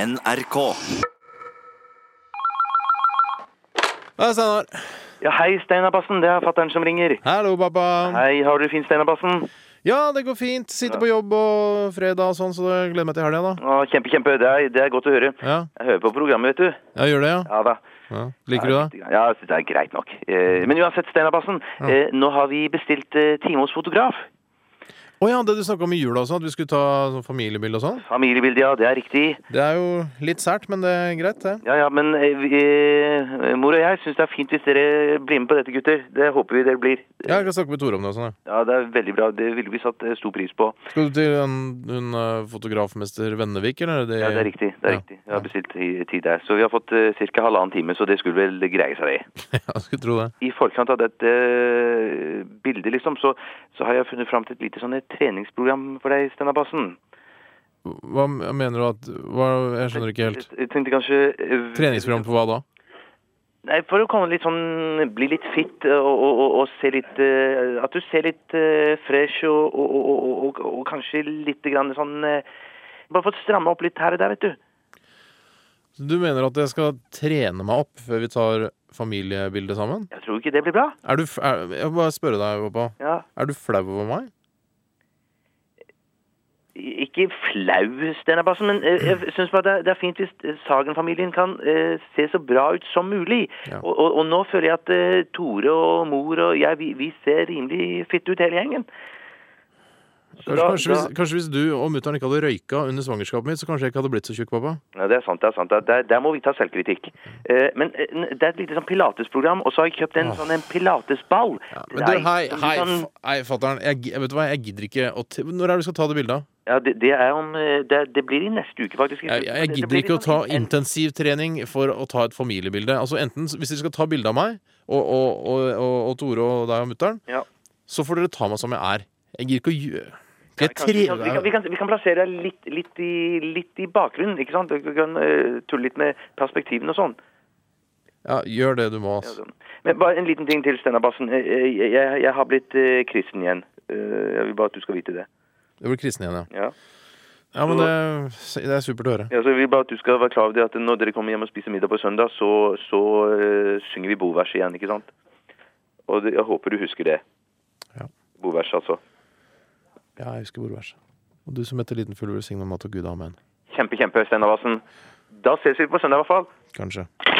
NRK. Hei, Steinar. Ja, hei, Steinabassen. Det er fattern som ringer. Hallo, pappa. Hei, har du det fint, Steinabassen? Ja, det går fint. Sitter på jobb og fredag og sånn, så jeg gleder meg til helga, da. Å, kjempe, kjempe. Det er, det er godt å høre. Ja, Jeg hører på programmet, vet du. ja gjør det, ja. Ja da. ja. Liker du det? Ja, jeg synes det er greit nok. Eh, Men uansett, Steinabassen, eh, nå har vi bestilt eh, time hos fotograf. Å ja, det du snakka om i jula også, at vi skulle ta sånn familiebilde og sånn. Familiebilde, ja, det er riktig. Det er jo litt sært, men det er greit, det. Ja, ja, men eh, vi, eh, mor og jeg syns det er fint hvis dere blir med på dette, gutter. Det håper vi dere blir. Ja, jeg kan snakke med Tore om det og sånn, ja. Ja, det er veldig bra. Det ville vi satt eh, stor pris på. Skal du til en, hun eh, fotografmester Vennevik, eller? er Det, Ja, det er riktig. det er Ja. riktig. Jeg har bestilt i- tid der. Så vi har fått ca. halvannen time, så det skulle vel greie seg, det. ja, jeg skulle tro det. i forkant av dette eh, bildet, liksom, så, så har jeg funnet fram til et lite sånn et treningsprogram for deg, Steinar Bassen. Hva m- mener du at hva, Jeg skjønner ikke helt. Jeg tenkte kanskje eh, Treningsprogram for hva da? Nei, For å komme litt sånn Bli litt fit eh, og, og, og, og se litt eh, At du ser litt eh, fresh og, og, og, og, og, og kanskje litt grann sånn eh, Bare fått stramma opp litt her og der, vet du. Du mener at jeg skal trene meg opp før vi tar familiebilde sammen? Jeg tror ikke det blir bra. Er du f er, Jeg må bare spørre deg, pappa. Ja. Er du flau over meg? Ikke flau, Steinar Bassen, men eh, jeg syns bare det, er- det er fint hvis eh, Sagen-familien kan eh, se så bra ut som mulig. Ja. Og, og, og nå føler jeg at eh, Tore og mor og jeg, vi, vi ser rimelig fitte ut hele gjengen. Så Kanskje, da- kanskje, da- hvis, kanskje hvis du og mutter'n ikke hadde røyka under svangerskapet mitt, så kanskje jeg ikke hadde blitt så tjukk, pappa? Ja, det er sant, det er sant. Der- Der, der må vi ta selvkritikk. Eh, men eh, det er et lite sånn pilatesprogram, og så har jeg kjøpt en sånn en pilatesball. Ja, til men du, deg, hei, som du hei, kan- fa- hei fatter'n. Jeg, gi- vet du hva, jeg gidder ikke å t Når er det du skal ta det bildet? av? Ja, det, det er om eh, det, det blir i neste uke, faktisk. Jeg, jeg, Det- jeg det gidder blir ikke å litt ta sånn en- intensivtrening for å ta et familiebilde. Altså enten s- Hvis dere skal ta bilde av meg og, og, og, og, og Tore og deg og mutter'n, Ja. så får dere ta meg som jeg er. Jeg gidder ikke å gjø... Jeg Kanskje Vi kan, vi, kan, tre... vi, kan, vi kan plassere deg litt, litt, i, litt i bakgrunnen, ikke sant? Du kan eh, tulle litt med perspektiven og sånn. Ja, gjør det du må, Ja, altså. sånn. Men bare en liten ting til, Steinar Bassen. Eh, eh, Jeg, jeg, jeg har blitt eh, kristen igjen. Eh, Jeg vil bare at du skal vite det. Du blir kristen igjen, ja. Ja. Ja, men det, det er supert å høre. Ja, så jeg vil bare at du skal være klar over det at når dere kommer hjem og spiser middag på søndag, så, så eh, synger vi bovers igjen, ikke sant? Og det, jeg håper du husker det. Ja. Bovers, altså. Ja, jeg husker bordverset. Og du som etter liten full velsigne mat og Gud, amen. Kjempe, kjempe, Steinar Bassen. Da ses vi på søndag i hvert fall. Kanskje.